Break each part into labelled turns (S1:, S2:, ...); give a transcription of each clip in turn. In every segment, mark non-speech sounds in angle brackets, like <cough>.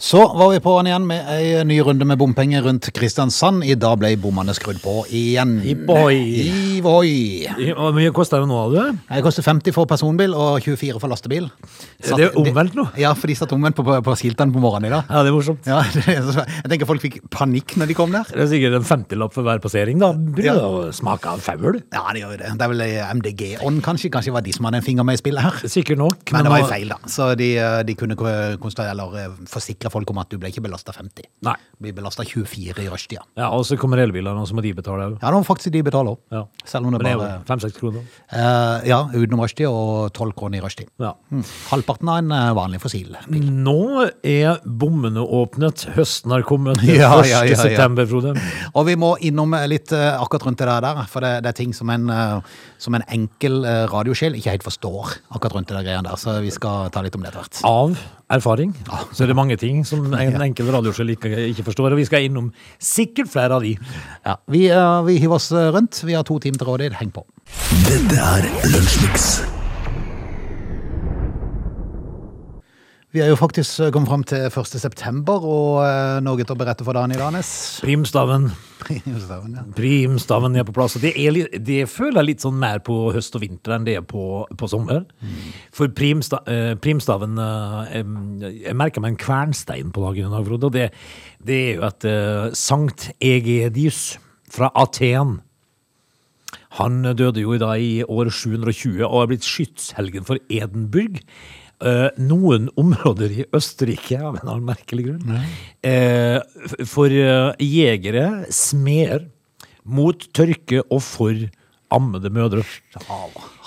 S1: Så var vi på den igjen med ei ny runde med bompenger rundt Kristiansand. I dag ble bommene skrudd på igjen.
S2: Hippoi.
S1: Hivoi.
S2: Hvor mye koster det nå, har du?
S1: Det koster 50 for personbil og 24 for lastebil.
S2: Er det omvendt nå?
S1: Ja, for de satt omvendt på, på skiltene på morgenen i dag.
S2: Ja, det er morsomt.
S1: Ja, <laughs> det er så svært. jeg tenker folk fikk panikk når de kom der.
S2: Det er sikkert en femtilapp for hver passering, da. Begynner
S1: Ja.
S2: å smake av faul.
S1: Ja, det gjør jo det. Det er vel MDG-ånd, kanskje. Kanskje det var de som hadde en finger med i spillet her.
S2: Sikkert nok.
S1: Men det var jo
S2: nå-
S1: feil, da. Så de, eh, de kunne ko- konstatere, eller eh, forsikre folk om at du ble ikke belasta 50.
S2: Nei.
S1: Du blir belasta 24 i rushtida.
S2: Ja, og så kommer elbilene, og så må de betale òg.
S1: Ja, det må faktisk de betale òg.
S2: Ja.
S1: Selv om det
S2: Men det er
S1: bare
S2: jo fem-seks kroner.
S1: eh, Ja, utenom rushtid og 12 kroner i rushtid.
S2: Ja.
S1: Mm. Halvparten av en eh, vanlig fossil.
S2: Nå er bommene åpnet. Høsten har kommet.
S1: Ja,
S2: 1.
S1: ja, ja, ja.
S2: september, Frode.
S1: Og vi må innom eh, litt eh, akkurat rundt det der, der, for det, det er ting som en, eh, som en enkel eh, radiosjel ikke helt forstår akkurat rundt det der greiene der, så vi skal ta litt om det etter hvert.
S2: Av erfaring så er det mange ting som en enkel radiosjel ikke, ikke forstår, og vi skal innom sikkert flere av de.
S1: Ja, vi, eh, vi hiver oss eh, rundt. Vi har to timer til rådighet. Heng på.
S3: Dette er Lunsjmix.
S1: Vi er jo faktisk eh, kommet fram til 1. september, og eh, noe til å berette for dagen i dag, Nes. <laughs>
S2: Primstaven.
S1: Ja.
S2: Primstaven er på plass. og Det, er, litt- det føler jeg litt sånn mer på høst og vinter enn det er på, på sommer. For primsta, eh, primstaven eh, em, Jeg merker meg en kvernstein på dagen i dag, Frode. Og det, det er jo at eh, Sankt Egedius fra Aten han døde jo i dag i år 720 og har blitt skytshelgen for Edinburgh. Eh, noen områder i Østerrike, av en eller annen merkelig grunn. Eh, f- for eh, jegere, smeder, mot tørke og for ammede mødre.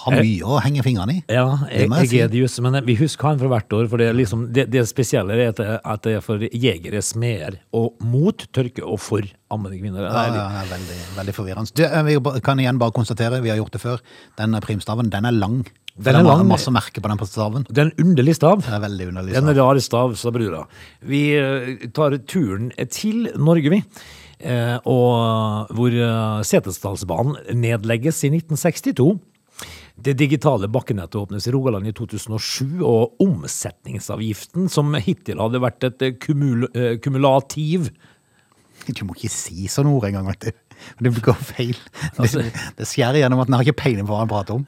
S1: Har mye å henge fingrene i.
S2: Ja,
S1: Det må jeg si.
S2: Egedius, men eh, vi husker han fra hvert år, for det, er liksom, det, det spesielle er at det, at det er for jegere, smeder, og mot tørke og for ammede kvinner.
S1: Ja,
S2: Det er
S1: ja, ja, veldig, veldig forvirrende. Du, eh, vi ba- kan igjen bare konstatere, vi har gjort det før, den eh, primstaven, den er lang. For
S2: Den er lang.
S1: har masse merke på den primstaven.
S2: Det er en underlig stav.
S1: Det er veldig underlig.
S2: Den
S1: stav.
S2: rare stav, sa brura. Vi eh, tar turen til Norge, vi. Eh, og hvor eh, Setesdalsbanen nedlegges i 1962. Det digitale bakkenettet åpnes i Rogaland i 2007, og omsetningsavgiften, som hittil hadde vært et eh, kumul eh, kumulativ
S1: Du må ikke si sånne ord engang, vet du. Det går feil. Det, det skjærer gjennom at den har ikke peiling på hva han prater om.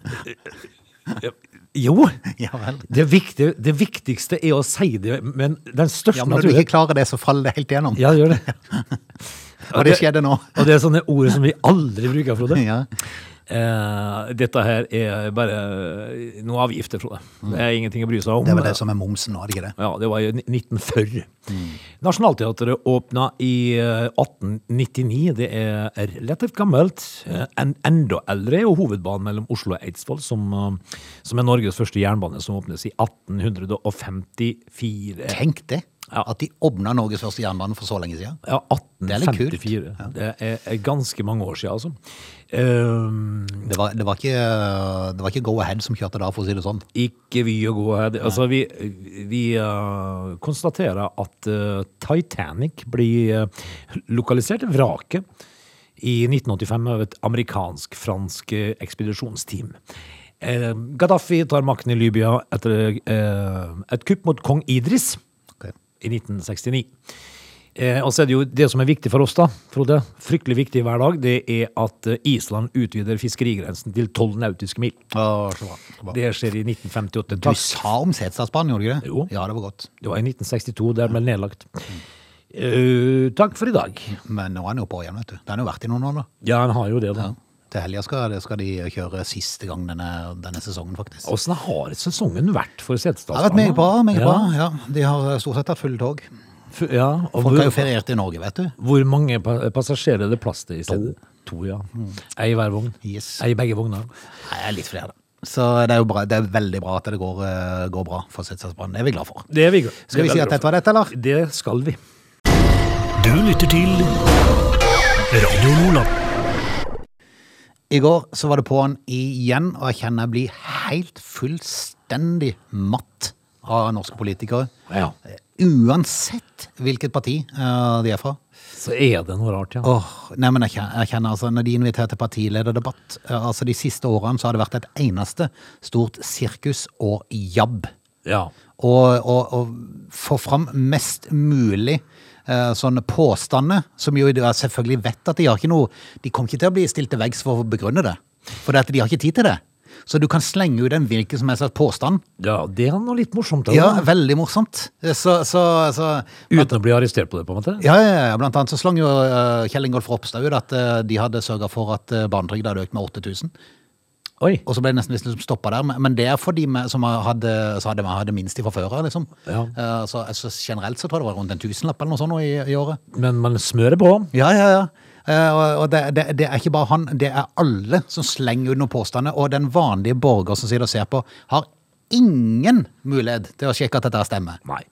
S2: Jo!
S1: <laughs> Ja vel.
S2: Det, viktige, det viktigste er å si det, men den største
S1: Ja, men når du
S2: naturen-
S1: ikke klarer det, så faller det helt igjennom.
S2: Ja, det gjør det.
S1: <laughs> Og det skjedde nå.
S2: Og det er sånne ord som vi aldri bruker, Frode.
S1: Ja.
S2: Eh, dette her er bare noen avgifter, Frode. Det er ingenting å bry seg om.
S1: Mm. Det er vel det som Mm. er momsen nå, er det ikke det?
S2: Ja, det var i 1940. Nationaltheatret åpna i eh, 1899. Det er relativt gammelt. Eh, En, enda eldre er jo hovedbanen mellom Oslo og Eidsvoll, som, eh, som er Norges første jernbane, som åpnes i 1854.
S1: Tenk det.
S2: Ja.
S1: At de åpna Norges første jernbane for så lenge siden.
S2: Ja,
S1: er litt kult.
S2: 1854. Det er, er ganske mange år siden, altså. Um,
S1: Det var, det var ikke, det var ikke Go Ahead som kjørte da, for å si det sånn.
S2: Ikke vy og gå her. Altså, vi vi eh, konstaterer at eh, Titanic blir eh, lokalisert, vraket, i 1985 av et amerikansk-fransk eh, ekspedisjonsteam. Eh, Gaddafi tar makten i Libya etter eh, et kupp mot kong Idris
S1: Ok.
S2: i 1969. Eh, og så er det jo det som er viktig for oss, da, Frode, fryktelig viktig hver dag, det er at eh, Island utvider fiskerigrensen til tolv nautiske mil.
S1: Ja, så bra. Så bra.
S2: Det skjer i 1958.
S1: Du
S2: Takk.
S1: sa om Setesdalsbanen, gjorde du ikke det?
S2: Jo.
S1: Ja, det var godt.
S2: Det var i 1962 der den ble nedlagt. Eh, takk for i dag.
S1: Men nå er den jo på igjen, vet du. Den har jo vært i noen år nå.
S2: Ja, han har jo det, da.
S1: Til helga skal, det skal de kjøre siste gang denne, denne sesongen, faktisk. Det
S2: Åssen har sesongen vært for
S1: har vært
S2: Setesdalsbanen?
S1: meget bra. meget
S2: ja.
S1: bra, ja. De har stort sett hatt fulle tog.
S2: F- Ja, og
S1: Folk
S2: hvor,
S1: har jo feriert i Norge, vet du.
S2: hvor mange pa- passasjerer er det plass til i stedet? To, ja. Ei i hver vogn.
S1: Mm. Yes.
S2: Ei i begge vogner.
S1: Nei, det er litt flere, da. Så det er jo bra, det er veldig bra at det går, eh, går bra for Setesdalsbanen. Det er vi glad for.
S2: Det er vi glad
S1: Skal vi si at dette var dette, eller?
S2: Det skal vi.
S3: Du lytter til Radio Lola.
S1: I går så var det på'n igjen, og jeg kjenner jeg blir helt fullstendig matt av norske politikere. Eh,
S2: Ja.
S1: uansett hvilket parti eh, de er fra.
S2: Så er det noe rart, ja.
S1: Åh, nei, men jeg kjenner, jeg kjenner altså, Når de inviterer til partilederdebatt eh, altså De siste årene så har det vært et eneste stort sirkus og jabb.
S2: ja.
S1: Og, og, og få fram mest mulig eh, sånne påstander, som jo da selvfølgelig vet at de har ikke noe De kommer ikke til å bli stilt til veggs for å begrunne det. For det at de har ikke tid til det. Så du kan slenge ut en hvilken som helst slags påstand.
S2: Ja, det er noe litt morsomt.
S1: Ja,
S2: Ja,
S1: veldig morsomt. Så, så, så
S2: Uten å bli arrestert på det, på en måte.
S1: ja, ja, ja, blant annet så slang jo eh, Kjell Ingolf Ropstad ut at eh, de hadde sørga for at uh, barnetrygda hadde økt med 8000.
S2: Oi.
S1: Og så ble det nesten liksom stoppa der. Men men det er for de med, som hadde, så hadde, hadde minst fra før av, liksom.
S2: Ja.
S1: Eh, så altså, generelt så tror jeg det var rundt en tusenlapp eller noe sånt nå i, i året.
S2: Men man smører på.
S1: Ja, ja, ja. Eh, og- og det, det, det er ikke bare han, det er alle som slenger ut noen påstander. Og den vanlige borger som sitter og ser på, har ingen mulighet til å sjekke at dette stemmer.
S2: Nei.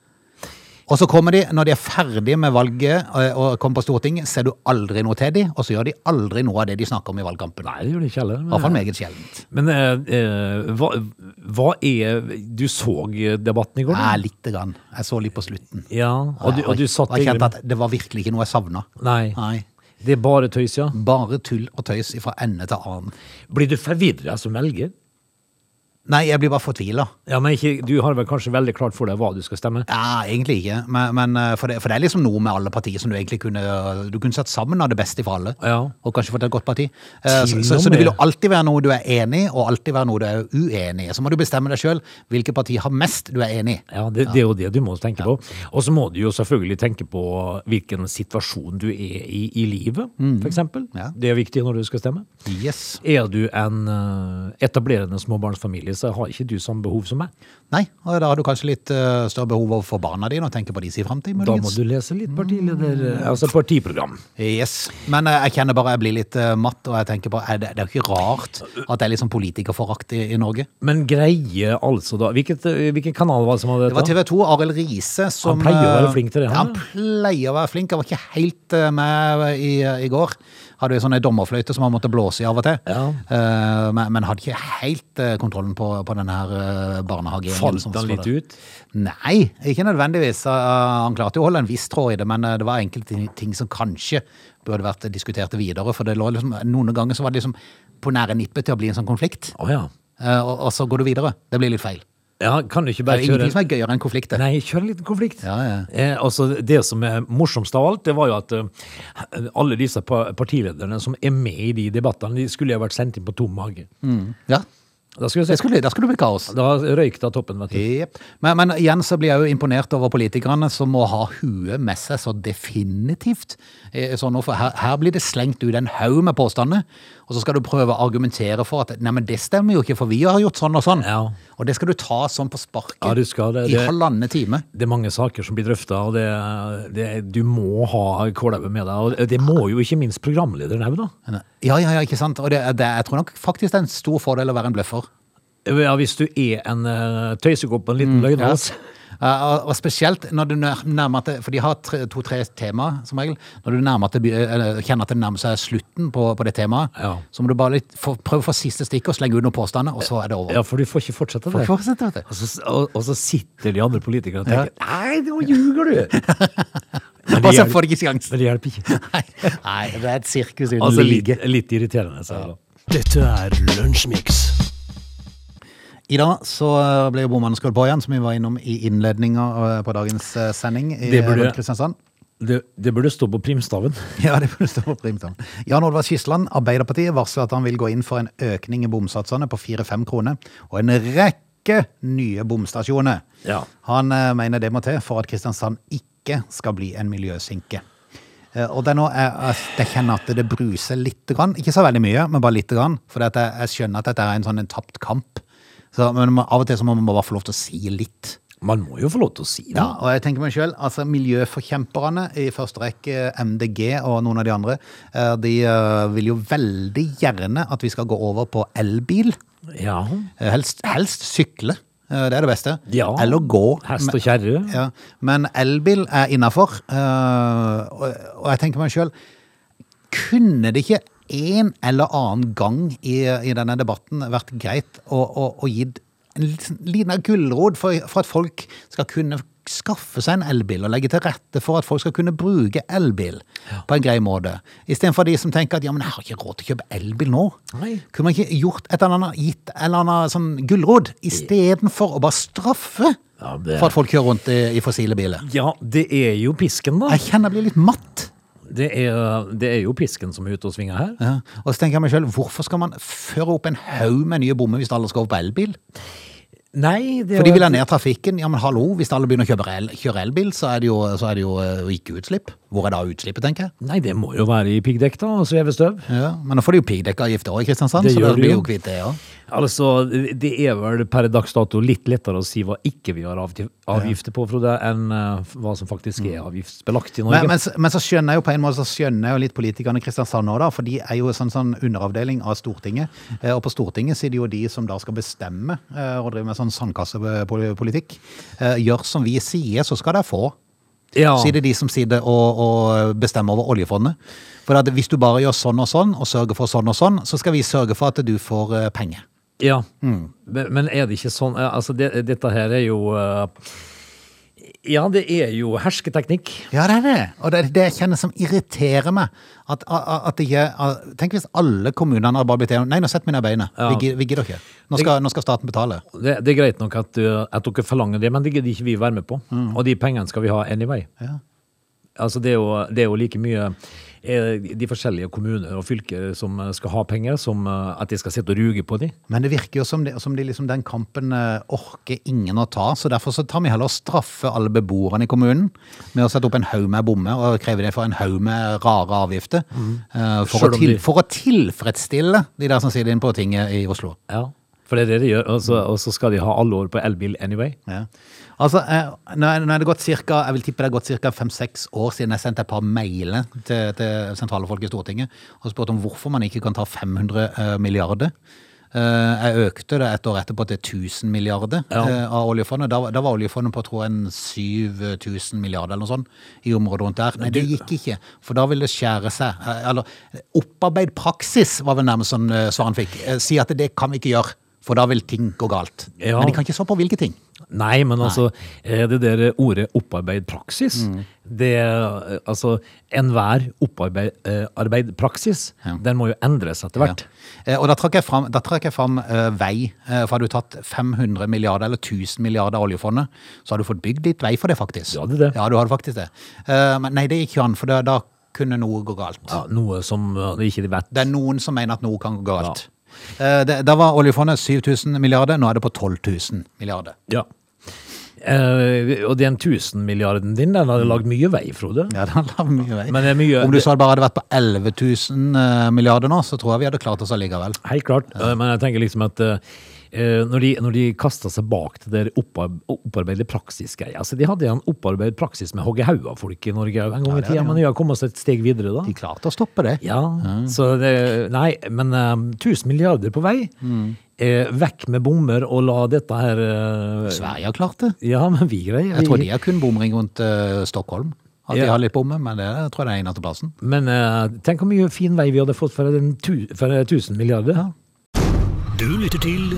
S1: Og så kommer de, når de er ferdige med valget og, og kommer på Stortinget, ser du aldri noe til de, og så gjør de aldri noe av det de snakker om i valgkampen.
S2: Nei, det gjør det ikke
S1: I
S2: heller. men-
S1: hvert fall meget sjeldent.
S2: Men eh, eh, hva, hva er Du så debatten i går? da?
S1: Nei, lite grann. Jeg så litt på slutten.
S2: Ja, og du, og du
S1: Og
S2: satt
S1: jeg kjente
S2: egentlig-
S1: at det var virkelig ikke noe jeg savna.
S2: Nei.
S1: Nei.
S2: Det er bare tøys, ja.
S1: Bare tull og tøys fra ende til annen.
S2: Blir du forvirra som velger?
S1: Nei, jeg blir bare fortvila.
S2: Ja, men ikke, Du har vel kanskje veldig klart for deg hva du skal stemme?
S1: Ja, egentlig ikke. Men, men eh, for, det, for det er liksom noe med alle partier som du egentlig kunne Du kunne satt sammen av det beste fra alle.
S2: Ja.
S1: Og kanskje fått et godt parti. Eh, Så,
S2: Til
S1: så,
S2: og
S1: så det vil jo
S2: med.
S1: alltid være noe du er enig i, og alltid være noe du er uenig i. Så må du bestemme deg sjøl hvilket parti har mest du er enig i.
S2: Ja, det, det er jo det du må tenke på. Og så må du jo selvfølgelig tenke på hvilken situasjon du er i i livet, for eksempel.
S1: Mm. Ja.
S2: Det er viktig når du skal stemme.
S1: Yes.
S2: Er du en eh, etablerende småbarnsfamilie, så har ikke du samme behov som meg.
S1: Nei, og da har du kanskje litt eh, større behov overfor barna dine og tenker på deres framtid,
S2: Da må
S1: muligens.
S2: du lese litt partileder...
S1: Mm.
S2: Altså partiprogram.
S1: Yes. Men eh, jeg kjenner bare jeg blir litt eh, matt, og jeg tenker på er det, det er jo ikke rart at det er litt sånn politikerforakt i, i Norge.
S2: Men greie altså da Hvilket, hvilken kanal var det som hadde
S1: Det var
S2: dette?
S1: TV 2, Arild Riise som
S2: Han pleier å være
S1: eh,
S2: flink til det, han,
S1: Han
S2: ja.
S1: pleier å være flink. Jeg var ikke helt eh, med i, i går. Hadde jo sånne dommerfløyter som han måtte blåse i av og til.
S2: Ja.
S1: Eh, men, men hadde ikke helt eh, kontrollen på, på denne her eh, barnehagegjengen.
S2: Falt
S1: som
S2: han
S1: står
S2: litt
S1: der.
S2: ut?
S1: Nei, ikke nødvendigvis. Eh, han klarte jo å holde en viss tråd i det, men eh, det var enkelte ting som kanskje burde vært diskutert videre. For det lå liksom, noen ganger så var det liksom på nære nippet til å bli en sånn konflikt.
S2: Å ja.
S1: Eh, og, og så går du videre. Det blir litt feil.
S2: ja. Kan du ikke
S1: Det
S2: bare
S1: er ingenting
S2: kjøre
S1: som er gøyere enn konflikter.
S2: Nei, kjør en liten konflikt.
S1: Ja, ja.
S2: Eh, altså, det som er morsomst av alt, det var jo at eh, alle disse pa partilederne som er med i de debattene, de skulle jo vært sendt inn på tom mage.
S1: Mm. Ja,
S2: Da skulle
S1: det
S2: jeg se.
S1: skulle, da skulle det bli kaos.
S2: Da røyk det av toppen, vet du.
S1: Jep. Men, men igjen så blir jeg jo imponert over politikerne som må ha huet med seg så definitivt. eh, Sånn, for her, her blir det slengt ut en haug med påstander, og så skal du prøve å argumentere for at nei, men det stemmer jo ikke, for vi har gjort sånn og sånn.
S2: Ja.
S1: Og det skal du ta sånn på sparket
S2: Ja, du skal det.
S1: i
S2: Det-
S1: halvannen time.
S2: Det er mange saker som blir drøfta, og det, det, du må ha kålauget med deg. Og det må jo ikke minst programlederen òg, da.
S1: Ja, ja, ja, ikke sant? Og det, det, jeg tror nok faktisk det er en stor fordel å være en bløffer.
S2: Ja, hvis du er en uh, tøysekopp og en liten altså. løgnhals.
S1: Mm, Ja, Eh, og- og spesielt når du nær- nærmer deg For de har to-tre temaer, som regel. Når du nærmer deg, be- eh, eller kjenner at det nærmer seg slutten på, på det temaet,
S2: Ja.
S1: så må du bare litt, få, prøve å få siste stikk og slenge ut noen påstander, og så er det over.
S2: Ja, for du får ikke fortsette det.
S1: Fortsett,
S2: <laughs>
S1: vet du.
S2: Og så, og, og så sitter de andre politikerne og tenker Nei, nå ljuger
S1: <laughs>
S2: du! Men
S1: Og så
S2: det hjelper,
S1: får de ikke sjansen.
S2: men det hjelper
S1: <laughs>
S2: ikke.
S1: Nei, nei, det er et sirkus uten
S2: Altså litt,
S1: like.
S2: litt irriterende. Så. Ja.
S3: Dette er Lunsjmix.
S1: I dag så eh, ble jo bomannen skrudd på igjen, som vi var innom i innledninga eh, på dagens eh, sending i
S2: Det burde-
S1: rundt Kristiansand.
S2: Det, det burde stå på primstaven.
S1: Ja, det burde stå på primtall. Jan Oddvar Skisland, Arbeiderpartiet, varsler at han vil gå inn for en økning i bomsatsene på 4-5 kroner, og en rekke nye bomstasjoner.
S2: Ja.
S1: Han eh, mener det må til for at Kristiansand ikke skal bli en miljøsinke. Eh, og det er nå jeg, jeg, jeg kjenner at det bruser litt, grann. ikke så veldig mye, men bare litt, grann, for det at jeg, jeg skjønner at dette er en sånn en tapt kamp. Så, men man- av og til så må man bare få lov til å si litt.
S2: Man må jo få lov til å si det.
S1: Ja, og jeg tenker meg selv, altså Miljøforkjemperne, i første eh, rekke MDG og noen av de andre, eh, de eh, vil jo veldig gjerne at vi skal gå over på elbil.
S2: Ja.
S1: Eh, Helst, helst sykle, eh, det er det beste.
S2: Ja.
S1: Eller gå.
S2: Hest og kjerre.
S1: Ja, men elbil er innafor. eh, Og og jeg tenker meg sjøl Kunne det ikke en eller annen gang i, i denne debatten vært greit å, å, å gi en liten- liten gulrot for, for at folk skal kunne skaffe seg en elbil og legge til rette for at folk skal kunne bruke elbil på en grei måte. Istedenfor de som tenker at ja, men jeg har ikke råd til å kjøpe elbil nå.
S2: Nei.
S1: Kunne man ikke gjort et eller annet, gitt en eller annen sånn gulrot istedenfor å bare straffe
S2: Ja, det-
S1: for at folk kjører rundt i, i fossile biler?
S2: Ja, det er jo pisken, da.
S1: Jeg kjenner jeg blir litt matt.
S2: Det er, det er jo pisken som er ute og svinger her.
S1: Ja. Og så tenker jeg meg selv, hvorfor skal man føre opp en haug med nye bommer hvis alle skal over på elbil?
S2: Nei, det
S1: For de
S2: var-
S1: vil ha ned trafikken. Ja, men hallo, hvis alle begynner å kjøpe el, kjøre elbil, så er det jo, så er det jo eh, ikke utslipp. Hvor er da utslippet, tenker jeg?
S2: Nei, det må jo være i piggdekk, da. Og svevestøv.
S1: Ja, men nå får de jo piggdekkavgift òg i Kristiansand,
S2: Det
S1: så
S2: gjør
S1: da
S2: de
S1: blir
S2: jo.
S1: jo kvitt det, ja.
S2: Altså, det er vel per dags dato litt lettere å si hva ikke vi har avti- avgifter på, Frode, enn eh, hva som faktisk er avgiftsbelagt i Norge.
S1: Mm. Men, men, s- men så skjønner jeg jo på en måte så skjønner jeg jo litt politikerne i Kristiansand nå, da. For de er jo en sånn, sånn underavdeling av Stortinget. Eh, Og på Stortinget så er det jo de som da skal bestemme eh, og drive med sånn sandkassepolitikk. Eh, Gjør som vi sier, så skal dere få.
S2: ja.
S1: Så er det de som sitter og, og bestemmer over oljefondet. For at hvis du bare gjør sånn og sånn, og sørger for sånn og sånn, så skal vi sørge for at du får eh, penger.
S2: Ja,
S1: Mm.
S2: men, men er det ikke sånn eh, Altså, det, dette her er jo eh, Ja, det er jo hersketeknikk.
S1: Ja, det er det. Og det er det jeg kjenner som irriterer meg. At, a- a- at det ikke, a- tenk hvis alle kommunene hadde bare blitt enige om Nei, nå setter vi ned beina.
S2: Ja.
S1: Vi, gid- vi gidder ikke. Nå skal, nå skal staten betale.
S2: Det, det er greit nok at, eh, at dere forlanger det, men det gidder ikke vi være med på. Og de pengene skal vi ha anyway.
S1: Mm. Ja.
S2: Altså, det er jo, det er jo like mye eh, de forskjellige kommuner og fylker som eh, skal ha penger, som eh, at de skal sitte og ruge på dem.
S1: Men det virker jo som, det, som de liksom, den kampen eh, orker ingen å ta, så derfor så tar vi heller og straffer alle beboerne i kommunen med å sette opp en haug med bommer og kreve det for en haug med rare avgifter. eh, for,
S2: Mm. Selv
S1: å
S2: om
S1: til,
S2: de-
S1: for å tilfredsstille de der som sitter inne på tinget i Oslo.
S2: Ja. For det er det de gjør, og så, og så skal de ha alle år på elbil anyway.
S1: Ja. Altså, eh, nå er nå er det gått cirka, jeg vil tippe det er gått cirka fem-seks år siden jeg sendte et par mailer til, til sentrale folk i Stortinget og spurte om hvorfor man ikke kan ta 500 eh, milliarder. Eh, jeg økte det et år etterpå til 1000 milliarder
S2: Ja.
S1: eh, av oljefondet. Da, var- da var oljefondet på tror jeg, en 7000 milliarder eller noe sånt i området rundt der. Nei, det gikk ikke, for da ville det skjære seg. Eh, Eller opparbeid praksis var vel nærmest sånn eh, svar han fikk. Eh, si at det kan vi ikke gjøre, for da vil ting gå galt.
S2: Ja.
S1: Men de kan ikke svare på hvilke ting.
S2: Nei, Mm. men altså, eh, det der ordet opparbeid praksis, det eh, Altså, enhver opparbeid eh, arbeid praksis,
S1: Ja.
S2: den må jo endres etter hvert.
S1: Ja. Eh, Og da trakk jeg fram, da trakk jeg fram eh, vei. Eh, for hadde du tatt 500 milliarder eller 1000 milliarder av oljefondet, så hadde du fått bygd litt vei for det, faktisk.
S2: Du hadde det.
S1: Ja, du hadde faktisk det. Eh, men nei, det gikk jo an, for da, da kunne noe gå galt.
S2: Ja, noe som eh, de ikke vet.
S1: Det er noen som mener at noe kan gå galt. Eh, det, da var oljefondet 7000 milliarder, nå er det på 12 000 milliarder.
S2: Ja. Eh, og den tusenmilliarden din, den hadde lagd mye vei, Frode.
S1: Ja, det er mye vei.
S2: Men det er mye-
S1: Om du så hadde bare hadde vært på 11 000 eh, milliarder nå, så tror jeg vi hadde klart oss allikevel.
S2: Helt klart. Eh, Men jeg tenker liksom at eh, eh, når de, når de kasta seg bak det der oppar- opparbeidede praksis-greia altså De hadde jo en opparbeidet praksis med hogge hodet av folk i Norge en gang i
S1: det hadde
S2: tida,
S1: de.
S2: men de har kommet seg et steg videre, da.
S1: De klarte å stoppe det.
S2: Ja, så det Nei, men um, 1000 milliarder på vei.
S1: Mm.
S2: Eh, vekk med bommer og la dette her eh,
S1: Sverige har klart det.
S2: Ja, men vi greier
S1: Jeg tror
S2: vi-
S1: de har kun bomring rundt eh, Stockholm. At
S2: Ja.
S1: de har litt bommer, men det tror jeg det er eneste plassen.
S2: Men eh, tenk hvor mye fin vei vi hadde fått for den tu- for 1000 milliarder.
S3: Du lytter til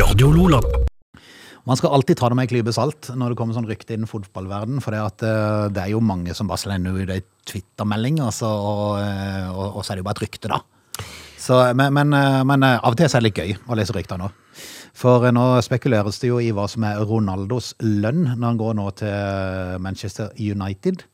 S3: Radio Lola.
S1: Man skal alltid ta det med en klype salt når det kommer sånn rykte innen fotballverden, for det, at, eh, det er jo mange som bare slender ut ei Twitter-melding, altså, og, eh, og, og så er det jo bare et rykte, da. Så, men, men, eh, men eh, av og til så er det litt gøy å lese rykter nå. For eh, nå spekuleres det jo i hva som er Ronaldos lønn når han går nå til Manchester United.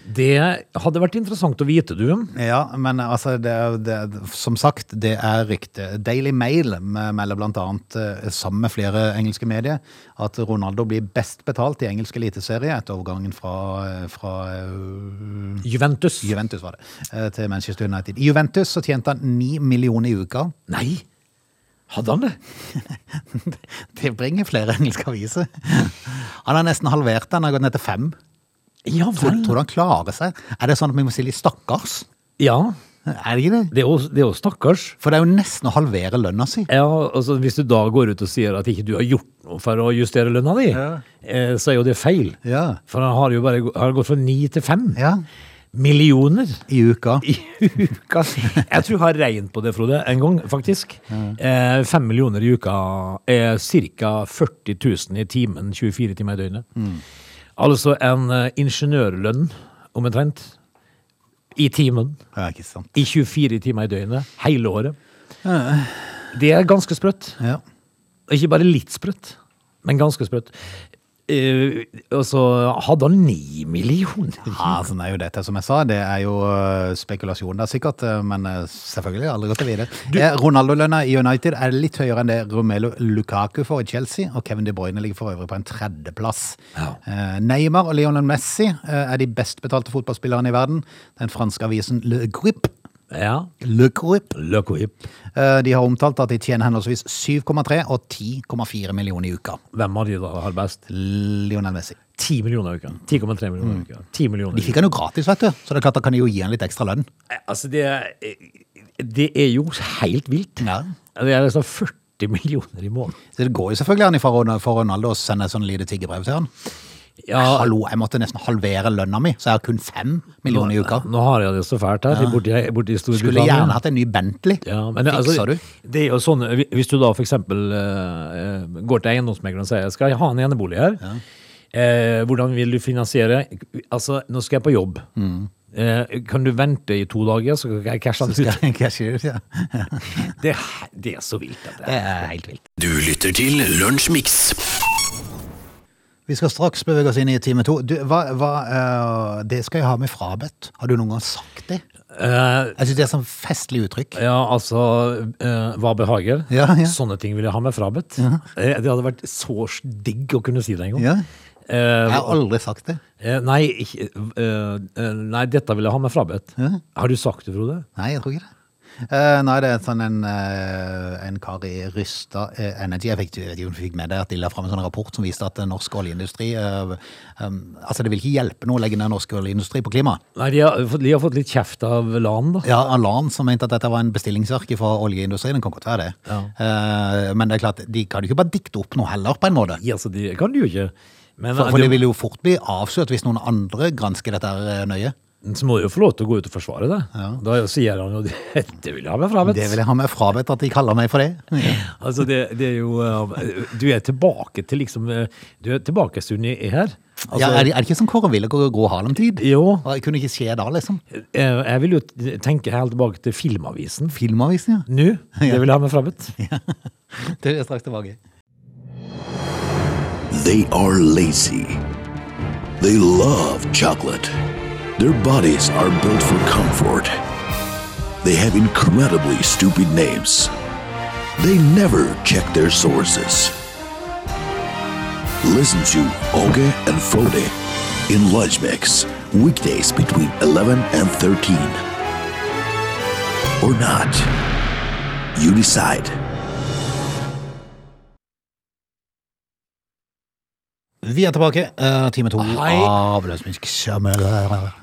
S2: Det hadde vært interessant å vite, du.
S1: Ja, men altså, det, er- det, er- som sagt, det er rykte. Daily Mail me- melder blant annet, eh, sammen med flere engelske medier, at Ronaldo blir best betalt i engelsk eliteserie etter overgangen fra, eh, fra eh,
S2: Juventus.
S1: Juventus, var det, eh, til Manchester United. I Juventus så tjente han ni millioner i uka. <laughs>
S2: Nei! Hadde han det?
S1: Det bringer flere engelske aviser. <laughs> Han har nesten halvert den, han har gått ned til fem.
S2: Ja
S1: Tror,
S2: vel.
S1: tror du han klarer seg? Er det sånn at vi må si litt stakkars?
S2: Ja,
S1: Er det ikke det?
S2: det er jo- det er jo stakkars.
S1: For det er jo nesten å halvere lønna si.
S2: Ja, altså Hvis du da går ut og sier at ikke du har gjort noe for å justere lønna di, eh, så er jo det feil.
S1: Ja.
S2: For han har jo bare gå- har gått fra ni til fem.
S1: Ja.
S2: millioner
S1: i uka.
S2: i uka. Jeg tror jeg har regnet på det, Frode, en gang, faktisk. Eh, fem millioner i uka er ca. 40 000 i timen, 24 timer i døgnet. Altså en eh, ingeniørlønn, omtrent, i timen.
S1: <laughs> Ja, ikke sant.
S2: I 24 timer i døgnet, hele året. Det er ganske sprøtt.
S1: Ja.
S2: Ikke bare litt sprøtt, men ganske sprøtt. Eh, og så hadde han ni millioner.
S1: Ja, sånn er jo dette, som jeg sa. Det er jo øh, spekulasjon der, sikkert. øh, Men øh, selvfølgelig, aldri gått til videre. Eh, Ronaldo-lønna i United er litt høyere enn det Romelu Lukaku får i Chelsea. Og Kevin De Bruyne ligger for øvrig på en tredjeplass.
S2: Ja.
S1: Eh, Neymar og Lionel Messi eh, er de best betalte fotballspillerne i verden. Den franske avisen Le Grip.
S2: Ja.
S1: Le Grip.
S2: Løk og hipp.
S1: Eh, De har omtalt at de tjener henholdsvis 7,3 og 10,4 millioner i uka.
S2: Hvem av de da har best?
S1: Lionel Messi.
S2: 10 millioner i uka. 10,3 millioner i uka. 10 millioner.
S1: De Mm.
S2: i uka.
S1: fikk han jo gratis, vet du. Så det er klart da kan de jo gi han litt ekstra lønn.
S2: Altså, det er, det er jo helt vilt.
S1: Ja.
S2: Det er nesten 40 millioner i måneden.
S1: Så det går jo selvfølgelig an ifra Ron- for Ronaldo å sende et sånn lite tiggerbrev til han.
S2: Ja,
S1: Hallo, jeg måtte nesten halvere lønna mi, så jeg har kun fem millioner i uka.
S2: Nå, nå har jeg det så fælt her, borti, borti Storbritannia.
S1: Skulle gjerne hatt en ny Bentley.
S2: Ja, men det-
S1: Fikser
S2: altså,
S1: du?
S2: Det er jo sånn, hvi- hvis du da for eksempel eh, eh, går til eiendomsmegleren og sier jeg skal ha en enebolig her, eh, hvordan vil du finansiere? Altså, nå skal jeg på jobb.
S1: Mm.
S2: Eh, kan du vente i to dager, så kan jeg cashe den ut?
S1: Skal jeg cashe ut? Ja.
S2: <laughs> Det, er- det er så vilt. Dette.
S1: Det er helt vilt.
S3: Du lytter til Lunsjmix.
S1: Vi skal straks bevege oss inn i time to. Du, hva, hva, eh, det skal jeg ha med frabedt. Har du noen gang sagt det?
S2: Eh,
S1: Jeg syns det er sånn festlig uttrykk.
S2: ja, altså eh, Hva behager?
S1: Ja, ja.
S2: Sånne ting vil jeg ha med frabedt. Eh, det hadde vært så digg å kunne si det en gang.
S1: Ja.
S2: Eh,
S1: Jeg har aldri sagt det.
S2: eh, nei, ikke, eh, eh, nei, dette vil jeg ha med frabedt. Har du sagt det, Frode?
S1: Nei, jeg tror ikke det. Eh, nei, det er sånn en, eh, en kar i Rysta eh, Energy. Jeg fikk, jeg vet ikke om du fikk med deg at de la fram en sånn rapport som viste at eh, norsk oljeindustri eh, em, Altså, det vil ikke hjelpe noe å legge ned norsk oljeindustri på klima.
S2: Nei, de har, fått- de har fått litt kjeft av LAN, da.
S1: Ja, Alan som mente at dette var en bestillingsverk fra oljeindustrien. Det kan godt være det. Eh, men det er klart, de kan jo ikke bare dikte opp noe heller, på en måte.
S2: Ja, altså, de kan de jo ikke. Men
S1: For, for
S2: eh, de-
S1: det vil jo fort bli avslørt hvis noen andre gransker dette her, eh, nøye.
S2: så må de jo få lov til å gå ut og forsvare det. Da sier han jo <laughs> det vil jeg ha med frabedt.
S1: Det vil jeg ha meg frabedt at de kaller meg for det.
S2: Altså, det, det er jo eh, Du er tilbake til liksom eh, Du er tilbake stund i i her. Altså,
S1: ja, er, det, er det ikke sånn Kåre Willoch og Gro Harlem-tid?
S2: Jo,
S1: Det kunne ikke skje da, liksom.
S2: eh, jeg vil jo t- tenke helt tilbake til Filmavisen.
S1: Filmavisen, ja.
S2: Nå, det vil jeg ha med frabedt.
S1: Det er straks tilbake.
S4: They are lazy. They love chocolate. Their bodies are built for comfort. They have incredibly stupid names. They never check their sources. Listen to Oge and Frode in Lunch Mix, weekdays between 11 and 13. Or not. You decide.
S1: Vi er tilbake. eh, time to
S2: Hei.
S1: av Lunsjmix.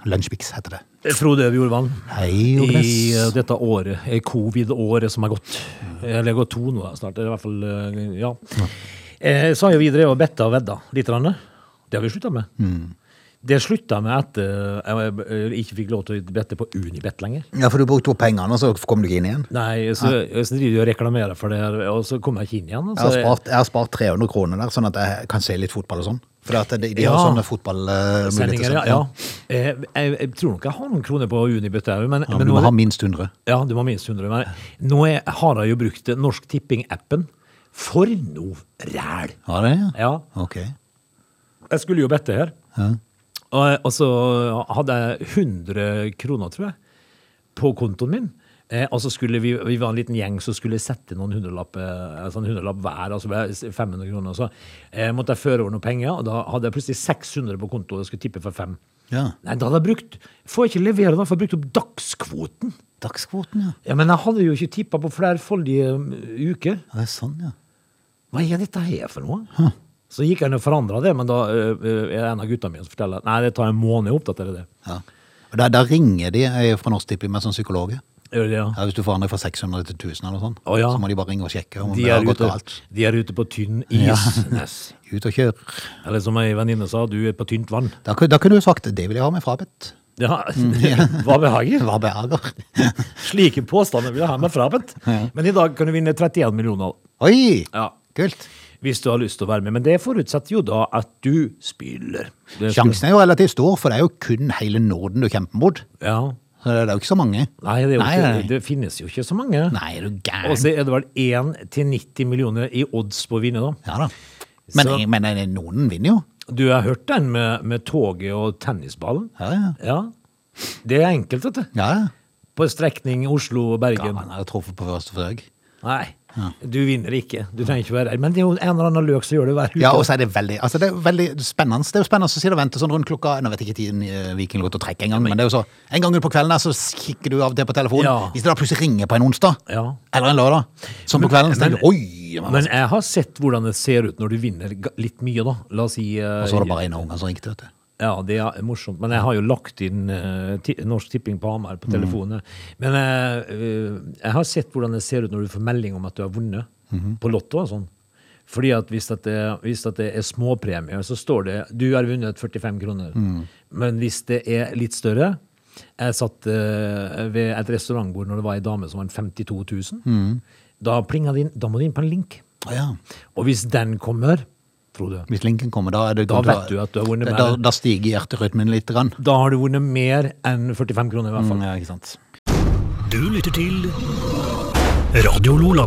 S1: Lunsjmix heter det.
S2: Frode Bjorvann.
S1: Hei, Johannes.
S2: I eh, dette året, eh, covid-året som er gått. Eh, Eller går to nå da, snart, i hvert fall. eh, Ja. Eh, Så har jo vi drevet og betta og vedda litt. grann. Det har vi slutta med. Det slutta med etter jeg eh, ikke fikk lov til å bette på Unibet lenger.
S1: Ja, for du brukte opp pengene, og så kom du ikke inn igjen.
S2: Nei, så, eh, så driver de og reklamerer for det, her, og så kommer jeg ikke inn igjen.
S1: Jeg har, spart,
S2: altså.
S1: jeg har spart 300 kroner der, sånn at jeg kan se litt fotball og sånn. For at de, de har
S2: Ja.
S1: sånne fotballmuligheter. sånn.
S2: Sendinger, ja. ja. Eh, Jeg, jeg tror nok jeg har noen kroner på Unibet. her, Men,
S1: Men
S2: men
S1: du
S2: nå
S1: må
S2: er
S1: ha
S2: det-
S1: minst 100.
S2: Ja, du må ha minst 100. Men nå er, har jeg jo brukt Norsk Tipping-appen. For noe ræl!
S1: Ja, det er det?
S2: Ja,
S1: Ok.
S2: jeg skulle jo bette her. Og, og så hadde jeg 100 kroner, tror jeg, på kontoen min. Eh, og så skulle vi, vi var en liten gjeng som skulle sette noen hundrelapp, eh, altså en hundrelapp hver, altså bare s- 500 kroner. Så eh, måtte jeg føre over noen penger, og da hadde jeg plutselig 600 på konto og skulle tippe for fem.
S1: Ja.
S2: Nei, da hadde jeg brukt, får jeg ikke levere da, for jeg brukte opp dagskvoten.
S1: Dagskvoten, ja.
S2: Ja, men jeg hadde jo ikke tippa på flerfoldige um, uker.
S1: ja. Det er sånn, ja.
S2: Hva er dette her for noe? Så gikk han og forandra det, men da ø, ø, er det en av gutta mine som forteller at nei, det tar en måned å oppdatere det.
S1: ja. Og da, da ringer de eh, fra Norsk Tipping meg som psykolog. Ja,
S2: Gjør det, ja.
S1: hvis du forandrer fra 600 til 1000 eller noe sånt,
S2: Å, ja.
S1: så må de bare ringe og sjekke om
S2: De
S1: det
S2: er,
S1: har gått
S2: ute,
S1: galt.
S2: de er ute på tynn is. Ness.
S1: Ut og kjør.
S2: Eller som ei venninne sa, du er på tynt vann.
S1: Da, ku- da kunne du sagt 'det vil jeg ha med frabedt'.
S2: Ja, <laughs> hva behager.
S1: Mm, Hva behager. <laughs>
S2: Slike påstander vil jeg ha meg frabedt. Men i dag kan du vinne 31 millioner.
S1: Oi!
S2: Ja.
S1: Kult.
S2: Hvis du har lyst til å være med. Men det forutsetter jo da at du spiller. Det skal-
S1: Sjansen er jo relativt stor, for det er jo kun hele Norden du kjemper mot.
S2: Ja.
S1: Så det er jo ikke så mange.
S2: Nei, det, er jo
S1: Nei,
S2: ikke,
S1: nei.
S2: det finnes jo ikke så mange.
S1: Nei, er du gæren?
S2: Og så er det vel 1 til 90 millioner i odds på å vinne, da.
S1: Ja da. Men,
S2: Så-
S1: men noen vinner jo.
S2: Du har hørt den med, med toget og tennisballen?
S1: Ja, ja.
S2: Ja. Det er enkelt, vet du.
S1: Ja, ja.
S2: På strekning
S1: Ja,
S2: Oslo-Bergen.
S1: han har truffet på første forsøk.
S2: Nei, du vinner ikke. Du trenger ikke være her. Men det er jo en eller annen løk som gjør det hver uke.
S1: Ja, og så er det veldig, altså det er veldig spennende. Det er jo spennende å si det venter sånn rundt klokka Nå vet jeg ikke tiden eh, Viking lot å trekke engang, men det er jo så En gang på kvelden her, så kikker du av og til på telefonen.
S2: Ja.
S1: Hvis det da plutselig ringer på en onsdag
S2: Ja.
S1: eller en lørdag, sånn på kvelden, så tenker du oi! det var
S2: Men jeg har sett hvordan det ser ut når du vinner ga- litt mye, da. La oss si eh,
S1: Og så var det bare en av ungene som ringte, vet du.
S2: Ja, det er morsomt. Men jeg har jo lagt inn eh, ti Norsk Tipping på Hamar på telefonen. Men eh, eh, jeg har sett hvordan det ser ut når du får melding om at du har vunnet på Lotto og sånn. Fordi at hvis, at det, hvis at det er småpremier, så står det 'du har vunnet 45 kroner'. Men hvis det er litt større Jeg satt eh, ved et restaurantbord når det var ei dame som vant 52 000. Da plinga det inn. Da må du inn på en link.
S1: Å ja.
S2: Og hvis den kommer, Frode
S1: Hvis linken kommer, da er det
S2: Da vet du at du har vunnet
S1: Da,
S2: mer.
S1: da stiger hjerterødmen litt. Grann.
S2: Da har du vunnet mer enn 45 kroner, i hvert fall.
S1: Ja, ikke sant.
S3: Du lytter til Radio Lola.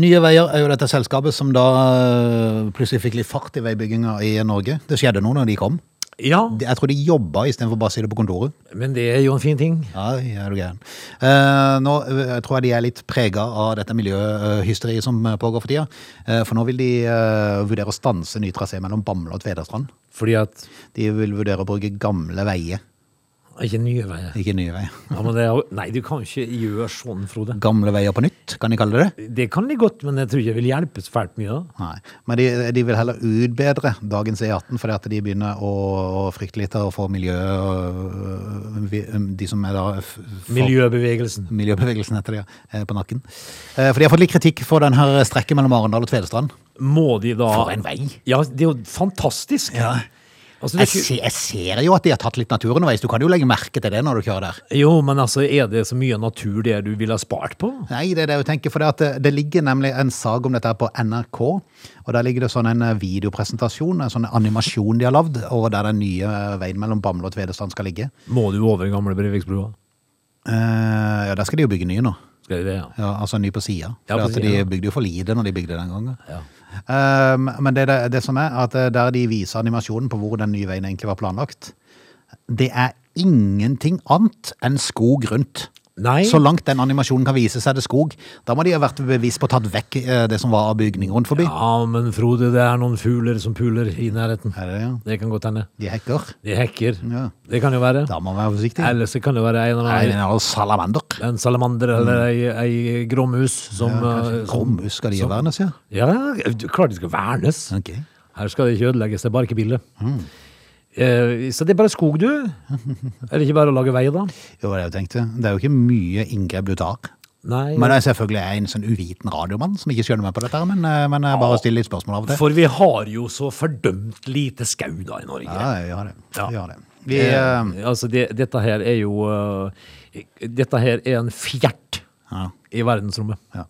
S1: Nye Veier er jo dette selskapet som da øh, plutselig fikk litt fart i veibygginga i Norge. Det skjedde noe når de kom.
S2: Ja,
S1: De- Jeg tror de jobba istedenfor bare å si det på kontoret.
S2: men det er jo en fin ting.
S1: Ja, ja, er du gæren. Eh, nå eh, tror jeg de er litt prega av dette miljøhysteriet som eh, pågår for tida. Eh, for nå vil de eh, vurdere å stanse ny trasé mellom Bamble og Tvedestrand.
S2: Fordi at
S1: De vil vurdere å bruke gamle veier,
S2: Ikke nye veier.
S1: ikke nye veier.
S2: Ja, men det er, jo- nei, du kan ikke gjøre sånn, Frode.
S1: Gamle veier på nytt, kan de kalle det det?
S2: Det kan de godt, men jeg tror ikke det vil hjelpe så fælt mye. da.
S1: Nei, men de, de vil heller utbedre dagens E18, fordi at de begynner å, å frykte litt av å få miljø... øh, vi- De som er da... f- for-
S2: Miljøbevegelsen.
S1: Miljøbevegelsen heter det, ja, eh, på nakken. Eh, For de har fått litt kritikk for denne strekket mellom Arendal og Tvedestrand.
S2: Må de da
S1: For en vei.
S2: Ja, det er jo fantastisk. Altså, det
S1: Jeg,
S2: er ikke,
S1: se, jeg ser jo at de har tatt litt natur underveis. Du kan jo legge merke til det når du kjører der.
S2: jo, men altså, er det så mye natur det du ville ha spart på?
S1: Nei, det er det jeg tenker, for det, at det, det ligger nemlig en sag om dette her på NRK, og der ligger det sånn en eh, videopresentasjon, en sånn animasjon de har lavd, og der den nye eh, veien mellom Bamble og Tvedestrand skal ligge.
S2: Må du over gamle Breiviksbrua?
S1: Eh, ja, der skal de jo bygge nye nå.
S2: Skal de det, ja?
S1: Ja, altså ny på sida.
S2: Ja, på
S1: for at
S2: siden, ja.
S1: de bygde jo for lite når de bygde den gangen.
S2: Ja.
S1: Eh, men det, det, det som er, at eh, der de viser animasjonen på hvor den nye veien egentlig var planlagt, det er ingenting annet enn skog rundt.
S2: Nei.
S1: Så langt den animasjonen kan vise seg det er skog. Da må de ha vært bevisst på å tatt vekk eh, det som var av bygning rundt forbi.
S2: Ja, men Frode, det er noen fugler som puler i nærheten.
S1: Er det, ja?
S2: Det kan godt hende.
S1: De hekker.
S2: De hekker.
S1: Ja.
S2: Det kan jo være.
S1: Da må man være forsiktig.
S2: Eller så kan det være en eller
S1: Nei,
S2: annen
S1: det er noe salamander.
S2: en salamander eller
S1: Mm.
S2: ei, ei gråmus som eh, som-
S1: Grommus skal de jo
S2: som-
S1: vernes, ja.
S2: Ja, du- klart de skal vernes.
S1: Ok.
S2: Her skal det ikke ødelegges, det er bare ikke billig.
S1: Mm.
S2: Eh, så det er bare skog, du.
S1: <laughs>
S2: Er det ikke bare å lage vei, da?
S1: Jo, det var det jeg tenkte. Det er jo ikke mye inngrep du tar.
S2: Nei.
S1: Men jeg selvfølgelig er en sånn uviten radiomann som ikke skjønner meg på dette, her, men, eh, men jeg bare stiller litt spørsmål av og til.
S2: For vi har jo så fordømt lite skau da i Norge.
S1: Ja, jeg gjør det.
S2: Ja.
S1: Jeg gjør det. Vi,
S2: Eh,
S1: eh,
S2: altså, det, dette her er jo eh, Dette her er en fjert
S1: Ja.
S2: i verdensrommet.
S1: ja.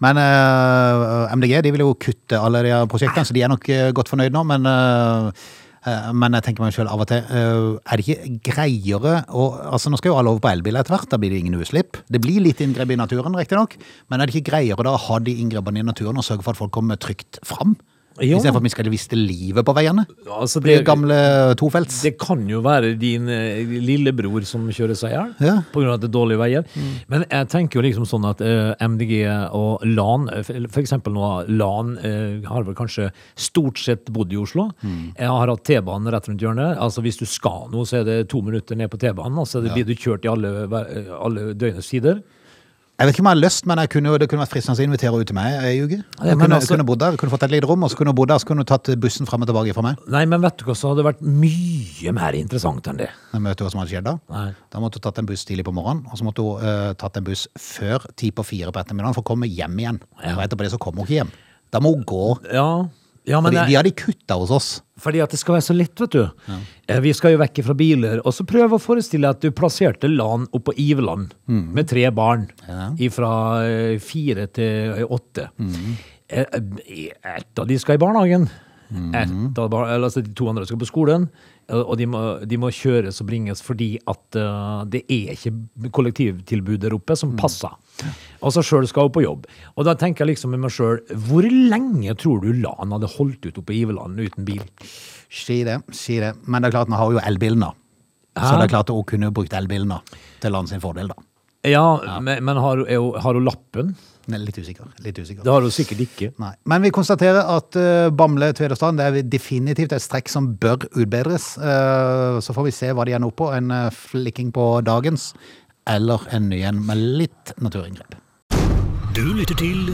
S1: Men eh, MDG de vil jo kutte alle de her prosjektene, så de er nok eh, godt fornøyd nå. Men, eh, eh, men jeg tenker meg selv av og til eh, Er det ikke greiere å altså Nå skal jo alle over på elbil etter hvert, da blir det ingen utslipp. Det blir litt inngrep i naturen, riktignok, men er det ikke greiere da å ha de inngrepene i naturen og sørge for at folk kommer trygt fram?
S2: Ja.
S1: Istedenfor at vi skal viste livet på veiene?
S2: Altså,
S1: Blir gamle tofelts?
S2: Det kan jo være din eh, lillebror som kjører seg i hjel
S1: Ja. Mm.
S2: på grunn av at det er dårlige veier. Men jeg tenker jo liksom sånn at eh, MDG og LAN, eh, for for eksempel nå LAN eh, har vel kanskje stort sett bodd i Oslo.
S1: Mm.
S2: Jeg har hatt T-banen rett rundt hjørnet. Altså hvis du skal noe, så er det to minutter ned på T-banen, og så blir du kjørt i alle, hver- alle døgnets tider.
S1: Jeg vet ikke om jeg har lyst, men jeg kunne, jo- det kunne vært fristende å invitere ut til meg ei uke. Jeg
S2: men
S1: kunne,
S2: altså-
S1: kunne bodd der, kunne fått et lite rom, og så kunne jeg bodd der, så kunne du tatt bussen frem og tilbake fra meg.
S2: Nei, men vet du hva, så hadde det vært mye mer interessant enn det.
S1: Jeg vet du hva som hadde skjedd da.
S2: Nei.
S1: Da måtte du tatt en buss tidlig på morgenen, og så måtte du eh, tatt en buss før ti på fire på ettermiddagen for å komme hjem igjen.
S2: Ja.
S1: Og etterpå det så kommer hun ikke hjem. Da må hun gå.
S2: Ja, Ja, men
S1: Fordi
S2: det-
S1: de har de kutta hos oss.
S2: Fordi at det skal være så lett, vet du. Eh, Vi skal jo vekk fra biler. Og så prøv å forestille deg at du plasserte LAN oppå Iveland med tre barn. Fra fire til eh, åtte. Eh, eh, Ett av de skal i barnehagen. Ett av bar eller, altså, de to andre skal på skolen. eh, Og de må, de må kjøres og bringes fordi at eh, det er ikke kollektivtilbud der oppe som passer. Og så sjøl skal hun på jobb. Og da tenker jeg liksom med meg sjøl, hvor lenge tror du LAN hadde holdt ut oppe i Iveland uten bil?
S1: Si det, si det. Men det er klart, nå har hun jo elbilen, da. Så
S2: Hæ?
S1: det er klart at hun kunne jo brukt elbilen da, til land sin fordel, da.
S2: Ja, men, men har, hun- er, hun- har hun lappen?
S1: Nei, Litt usikker. Litt usikker.
S2: Det har hun sikkert ikke.
S1: Nei. Men vi konstaterer at eh, Bamble Tvedestrand det er definitivt et strekk som bør utbedres. Eh, så får vi se hva de ender opp på. En eh, flikking på dagens, eller en ny en med litt naturinngrep.
S3: Du lytter til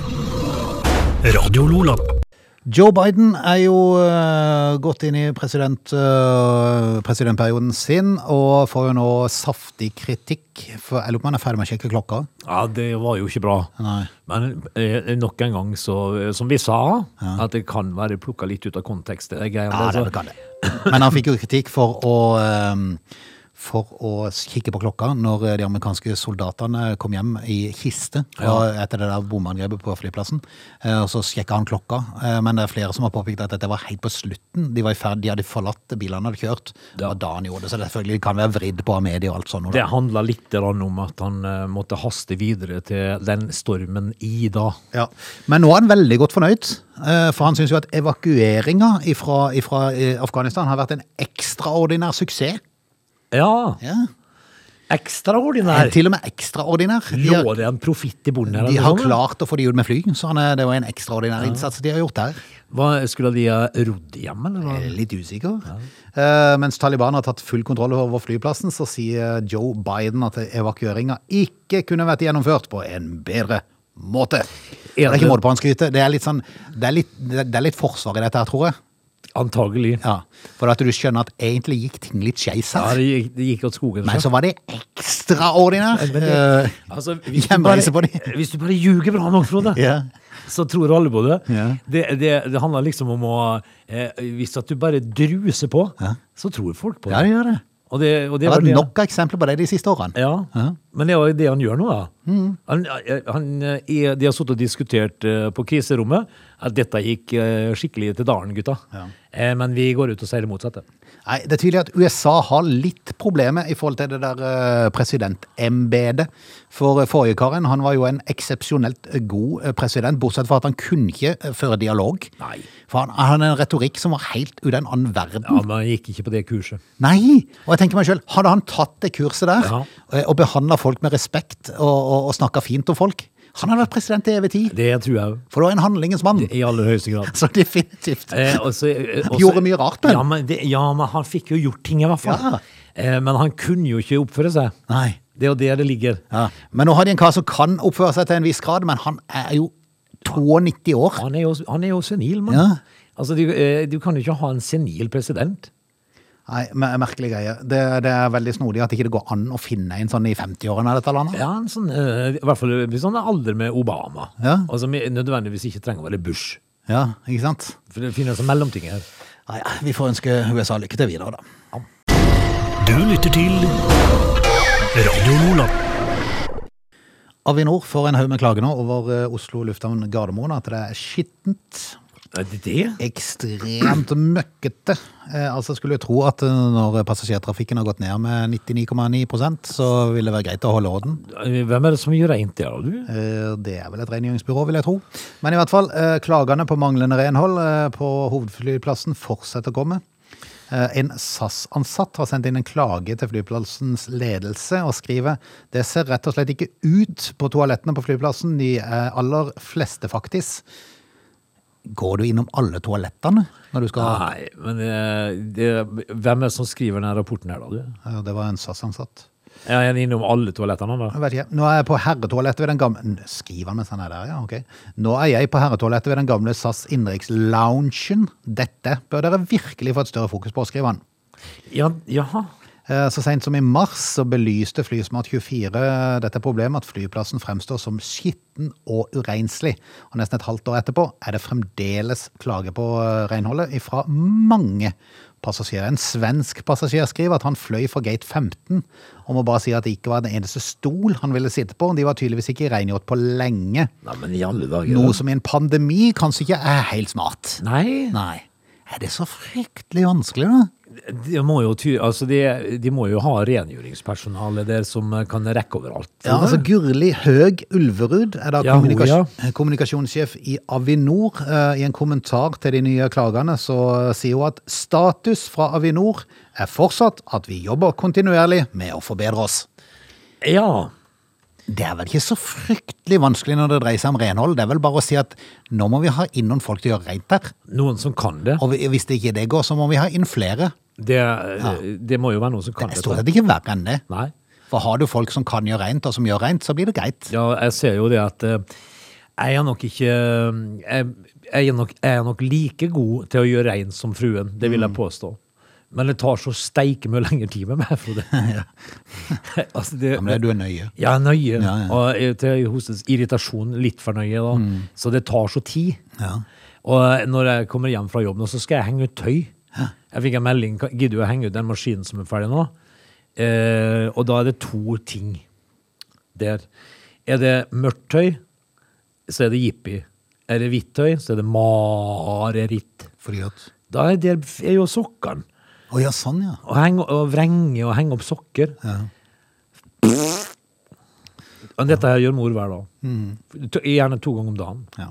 S3: Radio Lola.
S1: Joe Biden er jo eh, gått inn i president, eh, presidentperioden sin, og får jo nå saftig kritikk. For, jeg lurer på om han er ferdig med å sjekke klokka.
S2: Ja, det var jo ikke bra.
S1: Nei.
S2: Men eh, nok en gang, så, eh, som vi sa, at det kan være plukka litt ut av kontekst. Det er
S1: Ja,
S2: greia,
S1: det
S2: altså.
S1: er vel kan det. Men han fikk jo kritikk for å ehm, for å kikke på klokka når eh, de amerikanske soldatene kom hjem i kiste fra- etter det der bombeangrepet på flyplassen. Eh, Og så sjekka han klokka, Eh, men det er flere som har påpekt at dette var helt på slutten. De var i ferd, de hadde forlatt bilene hadde kjørt. Det var da han gjorde det, så det selvfølgelig kan være vridd på av media og alt sånt. nå da.
S2: det handla litt grann om at han eh, måtte haste videre til den stormen Ida.
S1: Ja. Men nå er han veldig godt fornøyd, eh, for han syns jo at evakueringa fra eh, Afghanistan har vært en ekstraordinær suksess.
S2: Ja!
S1: Ja.
S2: Ekstraordinær!
S1: Til og med ekstraordinær. De
S2: Lå
S1: har,
S2: det en profitt i bunnen her?
S1: de
S2: eller
S1: har
S2: sånn?
S1: klart å få de ut med fly, så han er, det var en ekstraordinær innsats de har gjort der.
S2: Hva, skulle de ha rodd hjem, eller? hva?
S1: Jeg er Litt usikker. Eh, mens Taliban har tatt full kontroll over flyplassen, så sier Joe Biden at evakueringa ikke kunne vært gjennomført på en bedre måte. Det er ikke måte på hans skryte. Det er litt, sånn, det er litt, det er litt forsvar i dette her, tror jeg.
S2: Antagelig.
S1: Ja, for at du skjønner at egentlig gikk ting litt skeis
S2: Ja,
S1: her.
S2: det gikk, det gikk åt skogen.
S1: Men så var det ekstraordinær.
S2: Men det-
S1: eh,
S2: altså, hvis du
S1: hjemreise
S2: bare-
S1: på
S2: Hvis du bare ljuger bra nok, Frode,
S1: Ja.
S2: så tror alle på det.
S1: Ja.
S2: Det, det. Det handler liksom om å eh, Hvis at du bare druser på, så tror folk på det.
S1: Ja, det gjør det.
S2: Og det, og det
S1: Det har
S2: var det- Eh.
S1: vært nok av eksempler på det de siste årene.
S2: Ja, men det er jo det han gjør nå, da.
S1: Mm.
S2: Han, eh, han, er- de har sittet og diskutert eh, på kriserommet at dette gikk eh, skikkelig til dalen, gutta. Eh, Men vi går ut og sier det motsatte.
S1: Nei, Det er tydelig at USA har litt problemer i forhold til det der eh, presidentembedet. For eh, forrige karen han var jo en eksepsjonelt eh, god eh, president, bortsett fra at han kunne ikke eh, føre dialog.
S2: Nei.
S1: For han, han hadde en retorikk som var helt ut av en annen verden.
S2: Ja, men han gikk ikke på det kurset.
S1: Nei! Og jeg tenker meg selv, hadde han tatt det kurset der,
S2: Ja.
S1: eh, og behandla folk med respekt og, og, og snakka fint om folk, han hadde vært president i evig tid.
S2: Det tror jeg
S1: For det var en handlingens mann.
S2: jo. I aller høyeste grad.
S1: <laughs> Så definitivt.
S2: Eh, og så- eh, og så-
S1: Gjorde mye rart, men.
S2: Ja, men, det, ja, men han fikk jo gjort ting, i hvert fall.
S1: Ja.
S2: Eh, men han kunne jo ikke oppføre seg.
S1: Nei.
S2: Det er jo der det ligger.
S1: Ja. Men nå har de en kar som kan oppføre seg til en viss grad, men han er jo 92 år.
S2: Han er jo, han er jo senil, mann.
S1: Ja.
S2: Altså, du, eh, du kan jo ikke ha en senil president.
S1: Nei, mer- Merkelig greie. Det, det er veldig snodig at ikke det går an å finne en sånn i 50-årene av dette landet.
S2: Ja, en sånn, eh, I hvert fall hvis han er alder med Obama.
S1: Ja.
S2: Og som nødvendigvis ikke trenger å være Bush.
S1: Ja, ikke sant?
S2: For det finnes en mellomting her.
S1: Nei, vi får ønske USA lykke til videre, da.
S3: Du lytter til Radio Lola.
S1: Avinor får en haug med klager nå over eh, Oslo lufthavn Gardermoen. At det er skittent,
S2: Er det det?
S1: ekstremt møkkete. Eh, altså Skulle jo tro at eh, når passasjertrafikken har gått ned med 99,9 så vil det være greit å holde orden.
S2: Hvem er det som gjør rent der, du?
S1: Eh, Det er vel et rengjøringsbyrå, vil jeg tro. Men i hvert fall, eh, klagene på manglende renhold eh, på hovedflyplassen fortsetter å komme. Eh, En SAS-ansatt har sendt inn en klage til flyplassens ledelse og skriver det ser rett og slett ikke ut på toalettene på flyplassen, de eh, aller fleste faktisk. Går du innom alle toalettene når du skal
S2: Nei, men eh, det, hvem er det som skriver denne rapporten her, da? du?
S1: Eh, Det var en SAS-ansatt.
S2: Ja, Er han innom alle toalettene, da?
S1: Jeg vet ikke. Nå er jeg på herretoalettet ved den gamle N- Skriver han mens han er der, ja, ok. Nå er jeg på herretoalettet ved den gamle SAS innenriksloungen. Dette bør dere virkelig få et større fokus på, skriver han.
S2: Ja, jaha.
S1: Eh, Så sent som i mars så belyste Flysmart24 dette problemet, at flyplassen fremstår som skitten og urenslig. Og nesten et halvt år etterpå er det fremdeles klage på eh, renholdet fra mange passasjerer. En svensk passasjer skriver at han fløy fra gate 15, og må bare si at det ikke var den eneste stol han ville sitte på. De var tydeligvis ikke rengjort på lenge,
S2: Nei, men i alle dager.
S1: noe som i en pandemi kanskje ikke er helt smart.
S2: Nei.
S1: Nei. Er det så fryktelig vanskelig, da?
S2: De må jo, ty altså de, de må jo ha rengjøringspersonale der som kan rekke overalt.
S1: Ja, altså Gurli Høg Ulverud er da
S2: Ja, hun,
S1: kommunika-
S2: ja.
S1: kommunikasjonssjef i Avinor. Eh, I en kommentar til de nye klagene så sier hun at status fra Avinor er fortsatt at vi jobber kontinuerlig med å forbedre oss.
S2: ja.
S1: Det er vel ikke så fryktelig vanskelig når det dreier seg om renhold. Det er vel bare å si at nå må vi ha inn noen folk til å gjøre rent der.
S2: Noen som kan det.
S1: Og vi- hvis det ikke det går, så må vi ha inn flere.
S2: Det, det må jo være noen som kan
S1: Det er
S2: det.
S1: stort sett ikke verre enn det.
S2: Nei.
S1: For har du folk som kan gjøre rent, og som gjør rent, så blir det greit.
S2: Ja, jeg ser jo det at eh, jeg er nok ikke jeg, jeg, er nok, jeg er nok like god til å gjøre rein som fruen, det vil jeg påstå. Men det tar så steike mye lengre tid med meg, <laughs> Frode. altså,
S1: Ja,
S2: det,
S1: men det, du er nøye.
S2: jeg er nøye,
S1: Ja, ja.
S2: og jeg- til hos irritasjon litt for nøye, da. så det tar så tid.
S1: Mm. Ja.
S2: Og eh, når jeg kommer hjem fra jobb nå, så skal jeg henge ut tøy. Jeg fikk en melding, "Kan- gidder du å henge ut den maskinen som er ferdig nå? Eh, og da er det to ting der. Er det mørkt tøy, så er det jippi. Er det hvitt tøy, så er det mareritt.
S1: Fordi at...
S2: Da er, det, er jo sokkene.
S1: Å ja, sånn ja.
S2: Og, henge, og vrenge og henge opp sokker. Og dette her gjør mor hver dag. To- Gjerne to ganger om dagen.
S1: Mm. ja.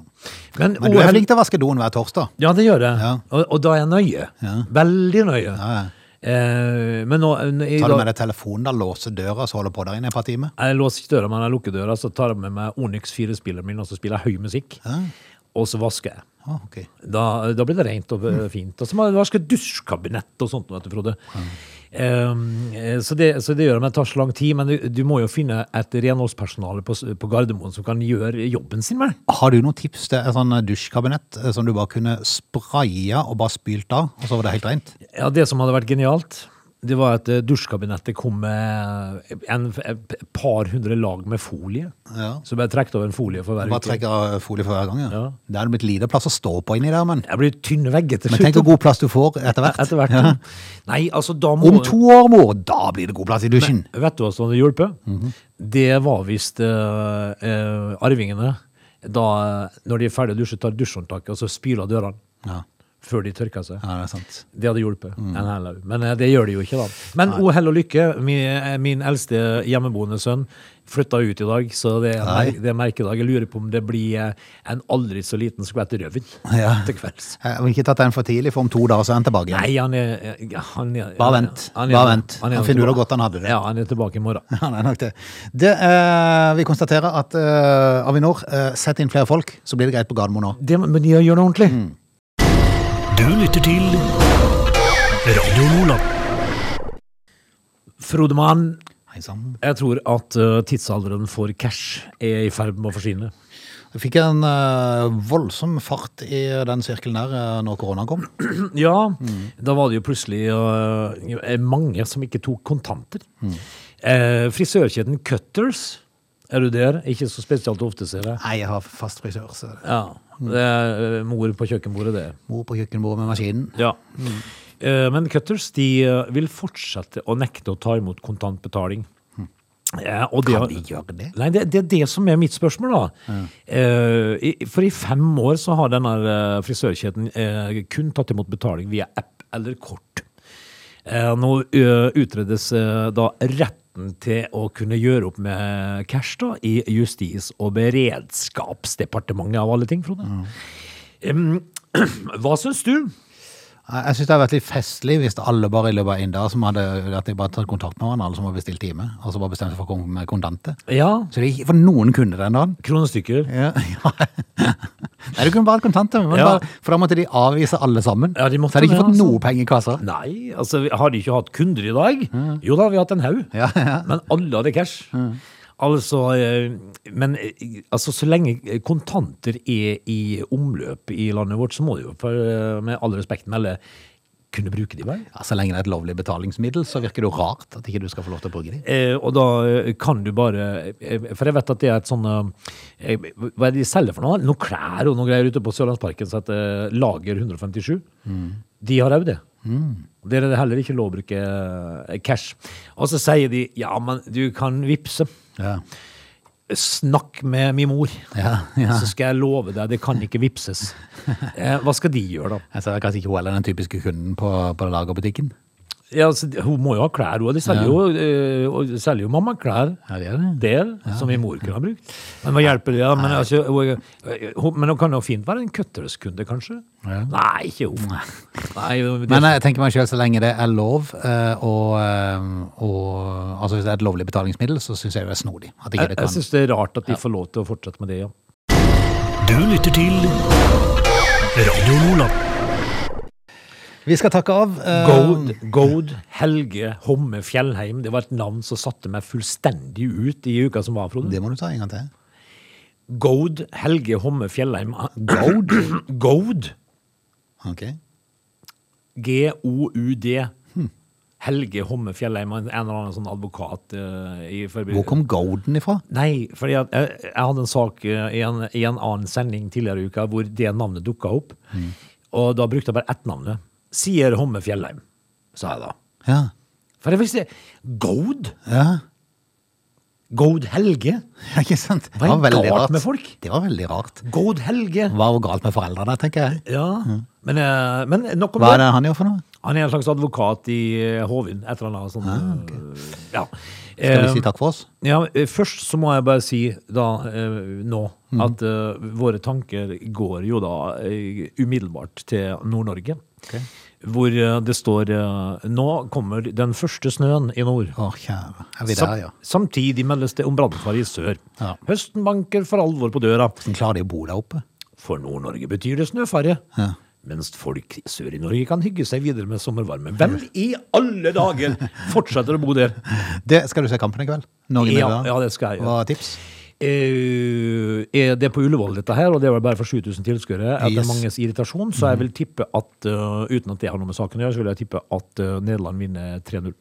S2: Men,
S1: Men du er
S2: OL
S1: flink til å vaske doen hver torsdag.
S2: Ja, det gjør jeg.
S1: Ja.
S2: Og, og da er jeg nøye.
S1: Ja.
S2: Veldig nøye.
S1: Ja, ja.
S2: Eh, men nå jeg,
S1: Tar du med deg telefonen, da låser døra, så holder på der inne i et par timer?
S2: jeg låser ikke døra, men jeg lukker døra, så tar jeg med meg Onyx 4-spilleren min, og så spiller jeg høy musikk. Og så vasker jeg.
S1: Ah, ok.
S2: Da, da blir det rent og
S1: Mm.
S2: eh, fint. Og så må jeg vaske dusjkabinett og sånt, vet du, Frode. Um, eh, så, det, så det gjør at det tar så lang tid, men du, du må jo finne et renholdspersonale på, s- på Gardermoen som kan gjøre jobben sin, vel?
S1: Har du noen tips til et sånn dusjkabinett eh, som du bare kunne spraya og bare spylt av, og så var det helt rent?
S2: Ja, det som hadde vært genialt, det var at eh, dusjkabinettet kom med en, et par hundre lag med folie.
S1: Ja.
S2: Så ble jeg trukket over en folie for hver
S1: Bare
S2: uke.
S1: trekker av folie for hver gang, ja.
S2: Ja.
S1: Det hadde blitt lite plass å stå på inni der, men,
S2: Jeg blir tynn vegg etter
S1: men tenk hvor god plass du får etter hvert.
S2: Etter hvert. Nei, altså, da må
S1: Om to år, mor, da blir det god plass i dusjen.
S2: Vet du hva som hadde hjulpet?
S1: Mhm.
S2: Det var hvis eh, eh, arvingene, da, når de er ferdige å dusje, tar dusjhåndtaket og så spyler dørene
S1: Ja.
S2: før de tørker seg.
S1: ja, Mm. det er sant.
S2: Det hadde hjulpet. en hel haug. Men eh, det gjør det jo ikke, da. Men o hell og lykke. Min, eh, min eldste hjemmeboende sønn flytta ut i dag, så det er,
S1: Nei.
S2: mer, det er merkedag. Jeg lurer på om det blir eh, en aldri så liten skvett rødvin
S1: Ja.
S2: til kvelds.
S1: Jeg vil Eh, ikke tatt den for tidlig, for om to dager så er han tilbake igjen.
S2: Nei, han er, ja, han er
S1: Bare vent.
S2: han er-
S1: Bare vent.
S2: er
S1: Han finner ut
S2: tilba-
S1: hvor godt han hadde det.
S2: Ja, han er tilbake i morgen.
S1: Han er nok det. det eh, vi konstaterer at eh, Avinor, eh, sett inn flere folk, så blir det greit på Gardermoen nå.
S2: Det, men de gjør det
S1: Mm.
S2: ordentlig.
S3: Du lytter til Radio Nordland.
S2: Frodemann,
S1: Hei sann.
S2: jeg tror at eh, tidsalderen for cash er i ferd med å forsvinne.
S1: Jeg fikk en eh, voldsom fart i den sirkelen der eh, når koronaen kom.
S2: Ja, da var det jo plutselig øh, mange som ikke tok kontanter. Eh, frisørkjeden Cutters, er du der? Ikke så spesielt ofte, ser jeg.
S1: Nei, jeg har fast frisør, så
S2: Ja, det er øh, mor på kjøkkenbordet, det.
S1: mor på kjøkkenbordet med maskinen.
S2: Ja. Eh, men Cutters de øh, vil fortsette å nekte å ta imot kontantbetaling. Eh, og det-
S1: Mm. Kan de gjøre det?
S2: Nei, det, det er det som er mitt spørsmål, da. Eh, i- for i fem år så har denne eh, frisørkjeden eh, kun tatt imot betaling via app eller kort. Eh, nå ø, utredes eh, da retten til å kunne gjøre opp med cash da, i Justis- og beredskapsdepartementet, av alle ting, Frode. Em, <clears throat> hva syns du?
S1: Jeg jeg syns det hadde vært litt festlig hvis alle bare i løpet av en dag som hadde at de bare tatt kontakt med hverandre, alle som hadde bestilt time, og så bare bestemt seg for å komme med kontanter.
S2: Ja,
S1: Så det gikk for noen kunder den dagen.
S2: kronestykker.
S1: Ja. <laughs> Nei, du kunne bare hatt kontanter, men
S2: Ja.
S1: bare, for da måtte de avvise alle sammen.
S2: Ja, de måtte
S1: så hadde de ikke
S2: det,
S1: fått
S2: altså.
S1: noe penger i kassa.
S2: Nei, altså vi- har de ikke hatt kunder i dag? Jo da, vi har hatt en haug.
S1: Ja, ja.
S2: Men alle hadde cash. Altså, eh, men eh, altså, så lenge kontanter er i omløp i landet vårt, så må det jo, for, eh, med all respekt melde, kunne bruke de, vel?
S1: Ja, så lenge det er et lovlig betalingsmiddel, så virker det jo rart at ikke du skal få lov til å bruke de.
S2: Eh, og da eh, kan du bare eh, For jeg vet at det er et sånn eh, Hva er det de selger for noe? Noen klær og noen greier ute på Sørlandsparken som heter eh, Lager 157.
S1: Mm.
S2: De har òg det. Der er det heller ikke lov å bruke eh, cash. Og så sier de ja, men du kan vippse.
S1: Ja.
S2: Snakk med min mor,
S1: Ja, ja.
S2: så skal jeg love deg, det kan ikke vippses.
S1: <laughs>
S2: Eh, hva skal de gjøre, da?
S1: Altså, det er kanskje ikke hun heller den typiske kunden på, på lagerbutikken.
S2: Ja, altså, hun må jo ha klær, hun. De selger, jo, eh, og de selger jo mamma klær.
S1: Ja, det er det.
S2: del som min mor kunne ha brukt. Men hva hjelper det? Ja, men, altså, hun, hun, men hun kan jo fint være en kutterskunde, kanskje?
S1: Ja.
S2: Nei, ikke hun. Nei, det,
S1: Men eh, jeg tenker meg selv, så lenge det er lov, eh, og, eh, og altså hvis det er et lovlig betalingsmiddel, så syns jeg det er snodig. At ikke
S2: jeg,
S1: det
S2: jeg
S1: kan.
S2: syns det er rart at de får lov til å fortsette med det, ja.
S3: Du lytter til Radio Nordland.
S1: Vi skal takke av. eh,
S2: Goad, Goad Helge Homme Fjellheim, det var et navn som satte meg fullstendig ut i uka som var, Frode.
S1: Det må du ta en gang til.
S2: Goad Helge Homme Fjellheim. <coughs> Goad? Goad.
S1: Ok.
S2: G-O-U-D. Helge Homme Fjellheim, en eller annen sånn advokat eh, i forbi...
S1: Hvor kom Golden ifra?
S2: Nei, fordi at jeg, jeg hadde en sak eh, i en, i en annen sending tidligere i uka hvor det navnet dukka opp.
S1: Mm.
S2: Og da brukte jeg bare ett navnet. Sier Homme Fjellheim, sa jeg da.
S1: Ja.
S2: For jeg visste Goad?
S1: ja. <laughs>
S2: Goad Helge?
S1: Ja, Ikke sant? Det
S2: Hva er
S1: var veldig
S2: galt
S1: rart.
S2: med folk?
S1: Det var veldig rart.
S2: Goad Helge?
S1: Hva var galt med foreldrene, tenker jeg.
S2: Ja, men, eh, men nok om
S1: Hva er
S2: det.
S1: det han gjør for noe?
S2: Han er en slags advokat i eh, Hovin, et eller annet sånt. eh, Ja.
S1: Skal
S2: Eh,
S1: vi si takk for oss?
S2: Ja, eh, først så må jeg bare si da eh, nå
S1: Mm.
S2: at eh, våre tanker går jo da eh, umiddelbart til Nord-Norge. Hvor eh, det står eh, Nå kommer den første snøen i nord.
S1: Å, kjære. Er vi
S2: Sam-
S1: der, ja?
S2: Samtidig meldes det om brannfare i sør.
S1: Ja.
S2: Høsten banker for alvor på døra.
S1: Hvordan klarer de å bo der oppe?
S2: For Nord-Norge betyr det snøfare.
S1: Ja.
S2: Mens folk sør i Norge kan hygge seg videre med sommervarme. Hvem i alle dager fortsetter å bo der?
S1: Det, skal du se kampen i kveld? Norge
S2: Ja,
S1: Nederland?
S2: ja, det skal jeg gjøre.
S1: Hva er tips?
S2: Eh, er det på Ullevål, dette her, og det var bare for 7000 tilskuere, etter
S1: Yes.
S2: manges irritasjon, så jeg vil tippe at eh, Uten at det har noe med saken å gjøre, så vil jeg tippe at eh, Nederland vinner 3-0.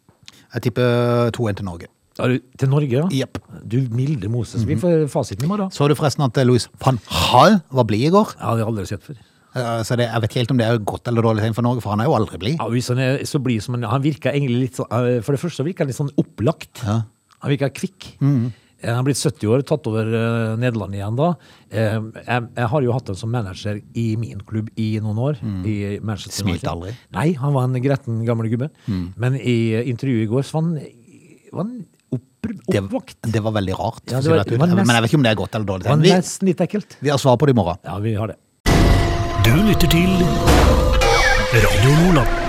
S1: Jeg tipper 2-1 til Norge.
S2: Er du- Til Norge, ja?
S1: Jepp.
S2: Du milde Moses. Vi får fasiten i morgen.
S1: Så du forresten at eh, Louis van Hall var blid i går?
S2: Ja, det har jeg aldri sett før.
S1: Eh, Så det, jeg vet ikke helt om det er godt eller dårlig tegn for Norge, for han er jo aldri blid.
S2: Ja, hvis han er så blid som han Han virker egentlig litt sånn eh, For det første så virker han litt sånn opplagt.
S1: Ja.
S2: Han virker kvikk.
S1: Mm.
S2: Eh, Han er blitt 70 år, tatt over eh, Nederland igjen da. Eh, Jeg, jeg har jo hatt ham som manager i min klubb i noen år. I Manchester
S1: Mm. Smilte
S2: United.
S1: aldri. Mm.
S2: Nei, han var en gretten gammel gubbe. Men i eh, intervjuet i går så var han, var han opp,
S1: Det,
S2: oppvakt.
S1: det var veldig rart. for
S2: Ja, det
S1: å si
S2: var-
S1: rett ut.
S2: det var nest-
S1: Men jeg vet ikke om det er godt eller dårlig
S2: Det var
S1: tegn. Vi,
S2: nesten litt ekkelt.
S1: vi har svar på det i morgen.
S2: Ja, vi har det.
S3: Du lytter til Radio Nordland.